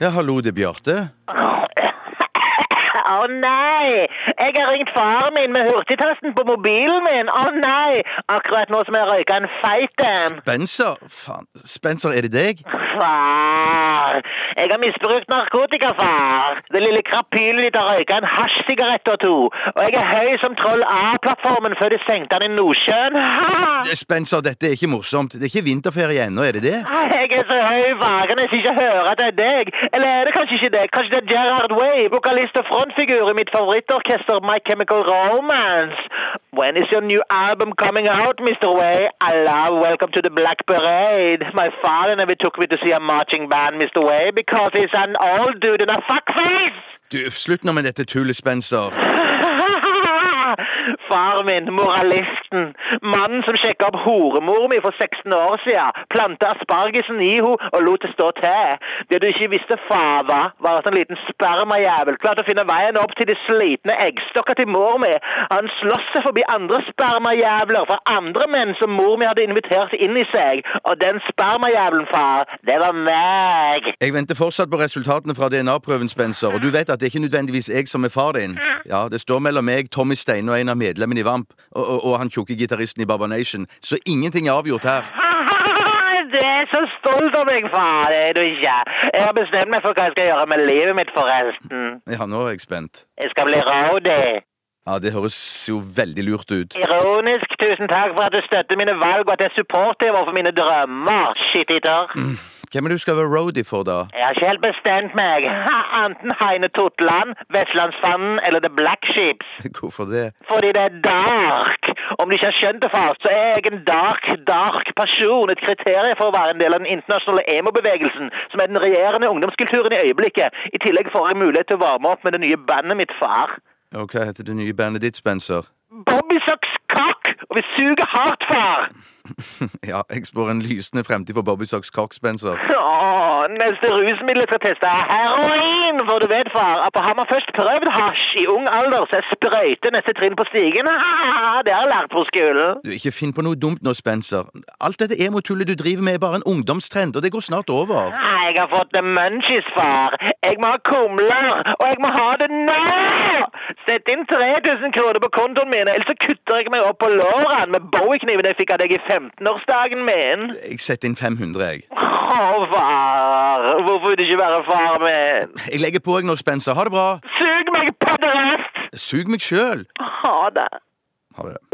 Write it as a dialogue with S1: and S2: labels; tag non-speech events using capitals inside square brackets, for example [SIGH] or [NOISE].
S1: Ja, hallo, det er Bjarte.
S2: Å nei! Jeg har ringt faren min med hurtigtasten på mobilen min. Å nei! Akkurat nå som jeg røyka en feit en.
S1: Spencer? Faen, Spencer, er det deg?
S2: Far! Jeg har misbrukt narkotika, far. Det lille krapylen ditt har røyka en hasjsigarett og to. Og jeg er høy som Troll A-plattformen før de stengte den i Nordsjøen. Ha!
S1: Spencer, dette er ikke morsomt. Det er ikke vinterferie ennå, er det det?
S2: Jeg er så høy i vagene jeg skal ikke høre at det er deg. Eller er det kanskje ikke deg? Kanskje det er Gerard Way, vokalist og frontfigur i mitt favorittorkester My Chemical Romance. When is your new album coming out, Mr. Way? I love Welcome to the Black Parade. My father never took me to see a marching band, Mr. Way, because he's an old dude in a fuckface.
S1: Du, Slutt nå med dette tullet, Spencer.
S2: [LAUGHS] Far min, moralisten, mannen som sjekka opp horemor mi for 16 år siden, planta aspargesen i henne og lot det stå til. Det du ikke visste, fava, var at en liten spermajævel klarte å finne veien opp til de slitne eggstokka til mor mi. Han sloss seg forbi andre spermajævler fra andre menn som mor mi hadde invitert inn i seg, og den spermajævelen, far, det var meg.
S1: Jeg venter fortsatt på resultatene fra DNA-prøven, Spencer, og du vet at det er ikke nødvendigvis jeg som er far din. Ja, det står mellom meg, Tommy Steine og en av medlemmene i Vamp, og, og, og han tjukke gitaristen i Baba Nation, så ingenting er avgjort her.
S2: [LAUGHS] Du er så stolt av meg, far. Det er du ikke. Jeg har bestemt meg for hva jeg skal gjøre med livet mitt, forresten.
S1: Ja, nå er jeg spent.
S2: Jeg skal bli rådig.
S1: Ja, det høres jo veldig lurt ut.
S2: Ironisk. Tusen takk for at du støtter mine valg, og at jeg supporter overfor mine drømmer, shit-eater.
S1: Hvem er det du skal være roadie for, da? [LAUGHS]
S2: Jeg har ikke helt bestemt meg. [LAUGHS] Ha, Enten Heine Totland, Vestlandsfanden eller The Black Sheeps.
S1: Hvorfor det?
S2: Fordi det er dark. Om du ikke har skjønt det, far, så er jeg en dark, dark person. Et kriterium for å være en del av den internasjonale emo-bevegelsen, som er den regjerende ungdomskulturen i øyeblikket. I tillegg får jeg mulighet til å varme opp med det nye bandet mitt, far.
S1: Og hva heter det nye bandet ditt, Spencer?
S2: Bobbysocks kakk, og vi suger hardt, far!
S1: [LAUGHS] ja, jeg spår en lysende fremtid for Bobbysocks Cock, Spencer.
S2: Åh, neste rusmiddel jeg skal teste er heroin, for du vet, far, at på Hammer først prøvd hasj i ung alder, så er sprøyte neste trinn på stigen. [LAUGHS] Ah, det har jeg lært på skolen.
S1: Du, Ikke finn på noe dumt nå, Spencer. Alt dette emotullet du driver med, er bare en ungdomstrend, og det går snart over.
S2: Nei, jeg har fått det munchies, far. Jeg må ha kumler, og jeg må ha det nå! Sett inn 3000 kroner på kontoen min, ellers så kutter jeg meg opp på lårene med bowie-kniven jeg fikk av deg i 15-årsdagen min.
S1: Jeg setter inn 500, jeg.
S2: Åh, far. Hvorfor vil du ikke være far min?
S1: Jeg legger på jeg nå, Spencer. Ha det bra.
S2: Sug meg, pederast!
S1: Sug meg sjøl.
S2: Ha det.
S1: Ha det.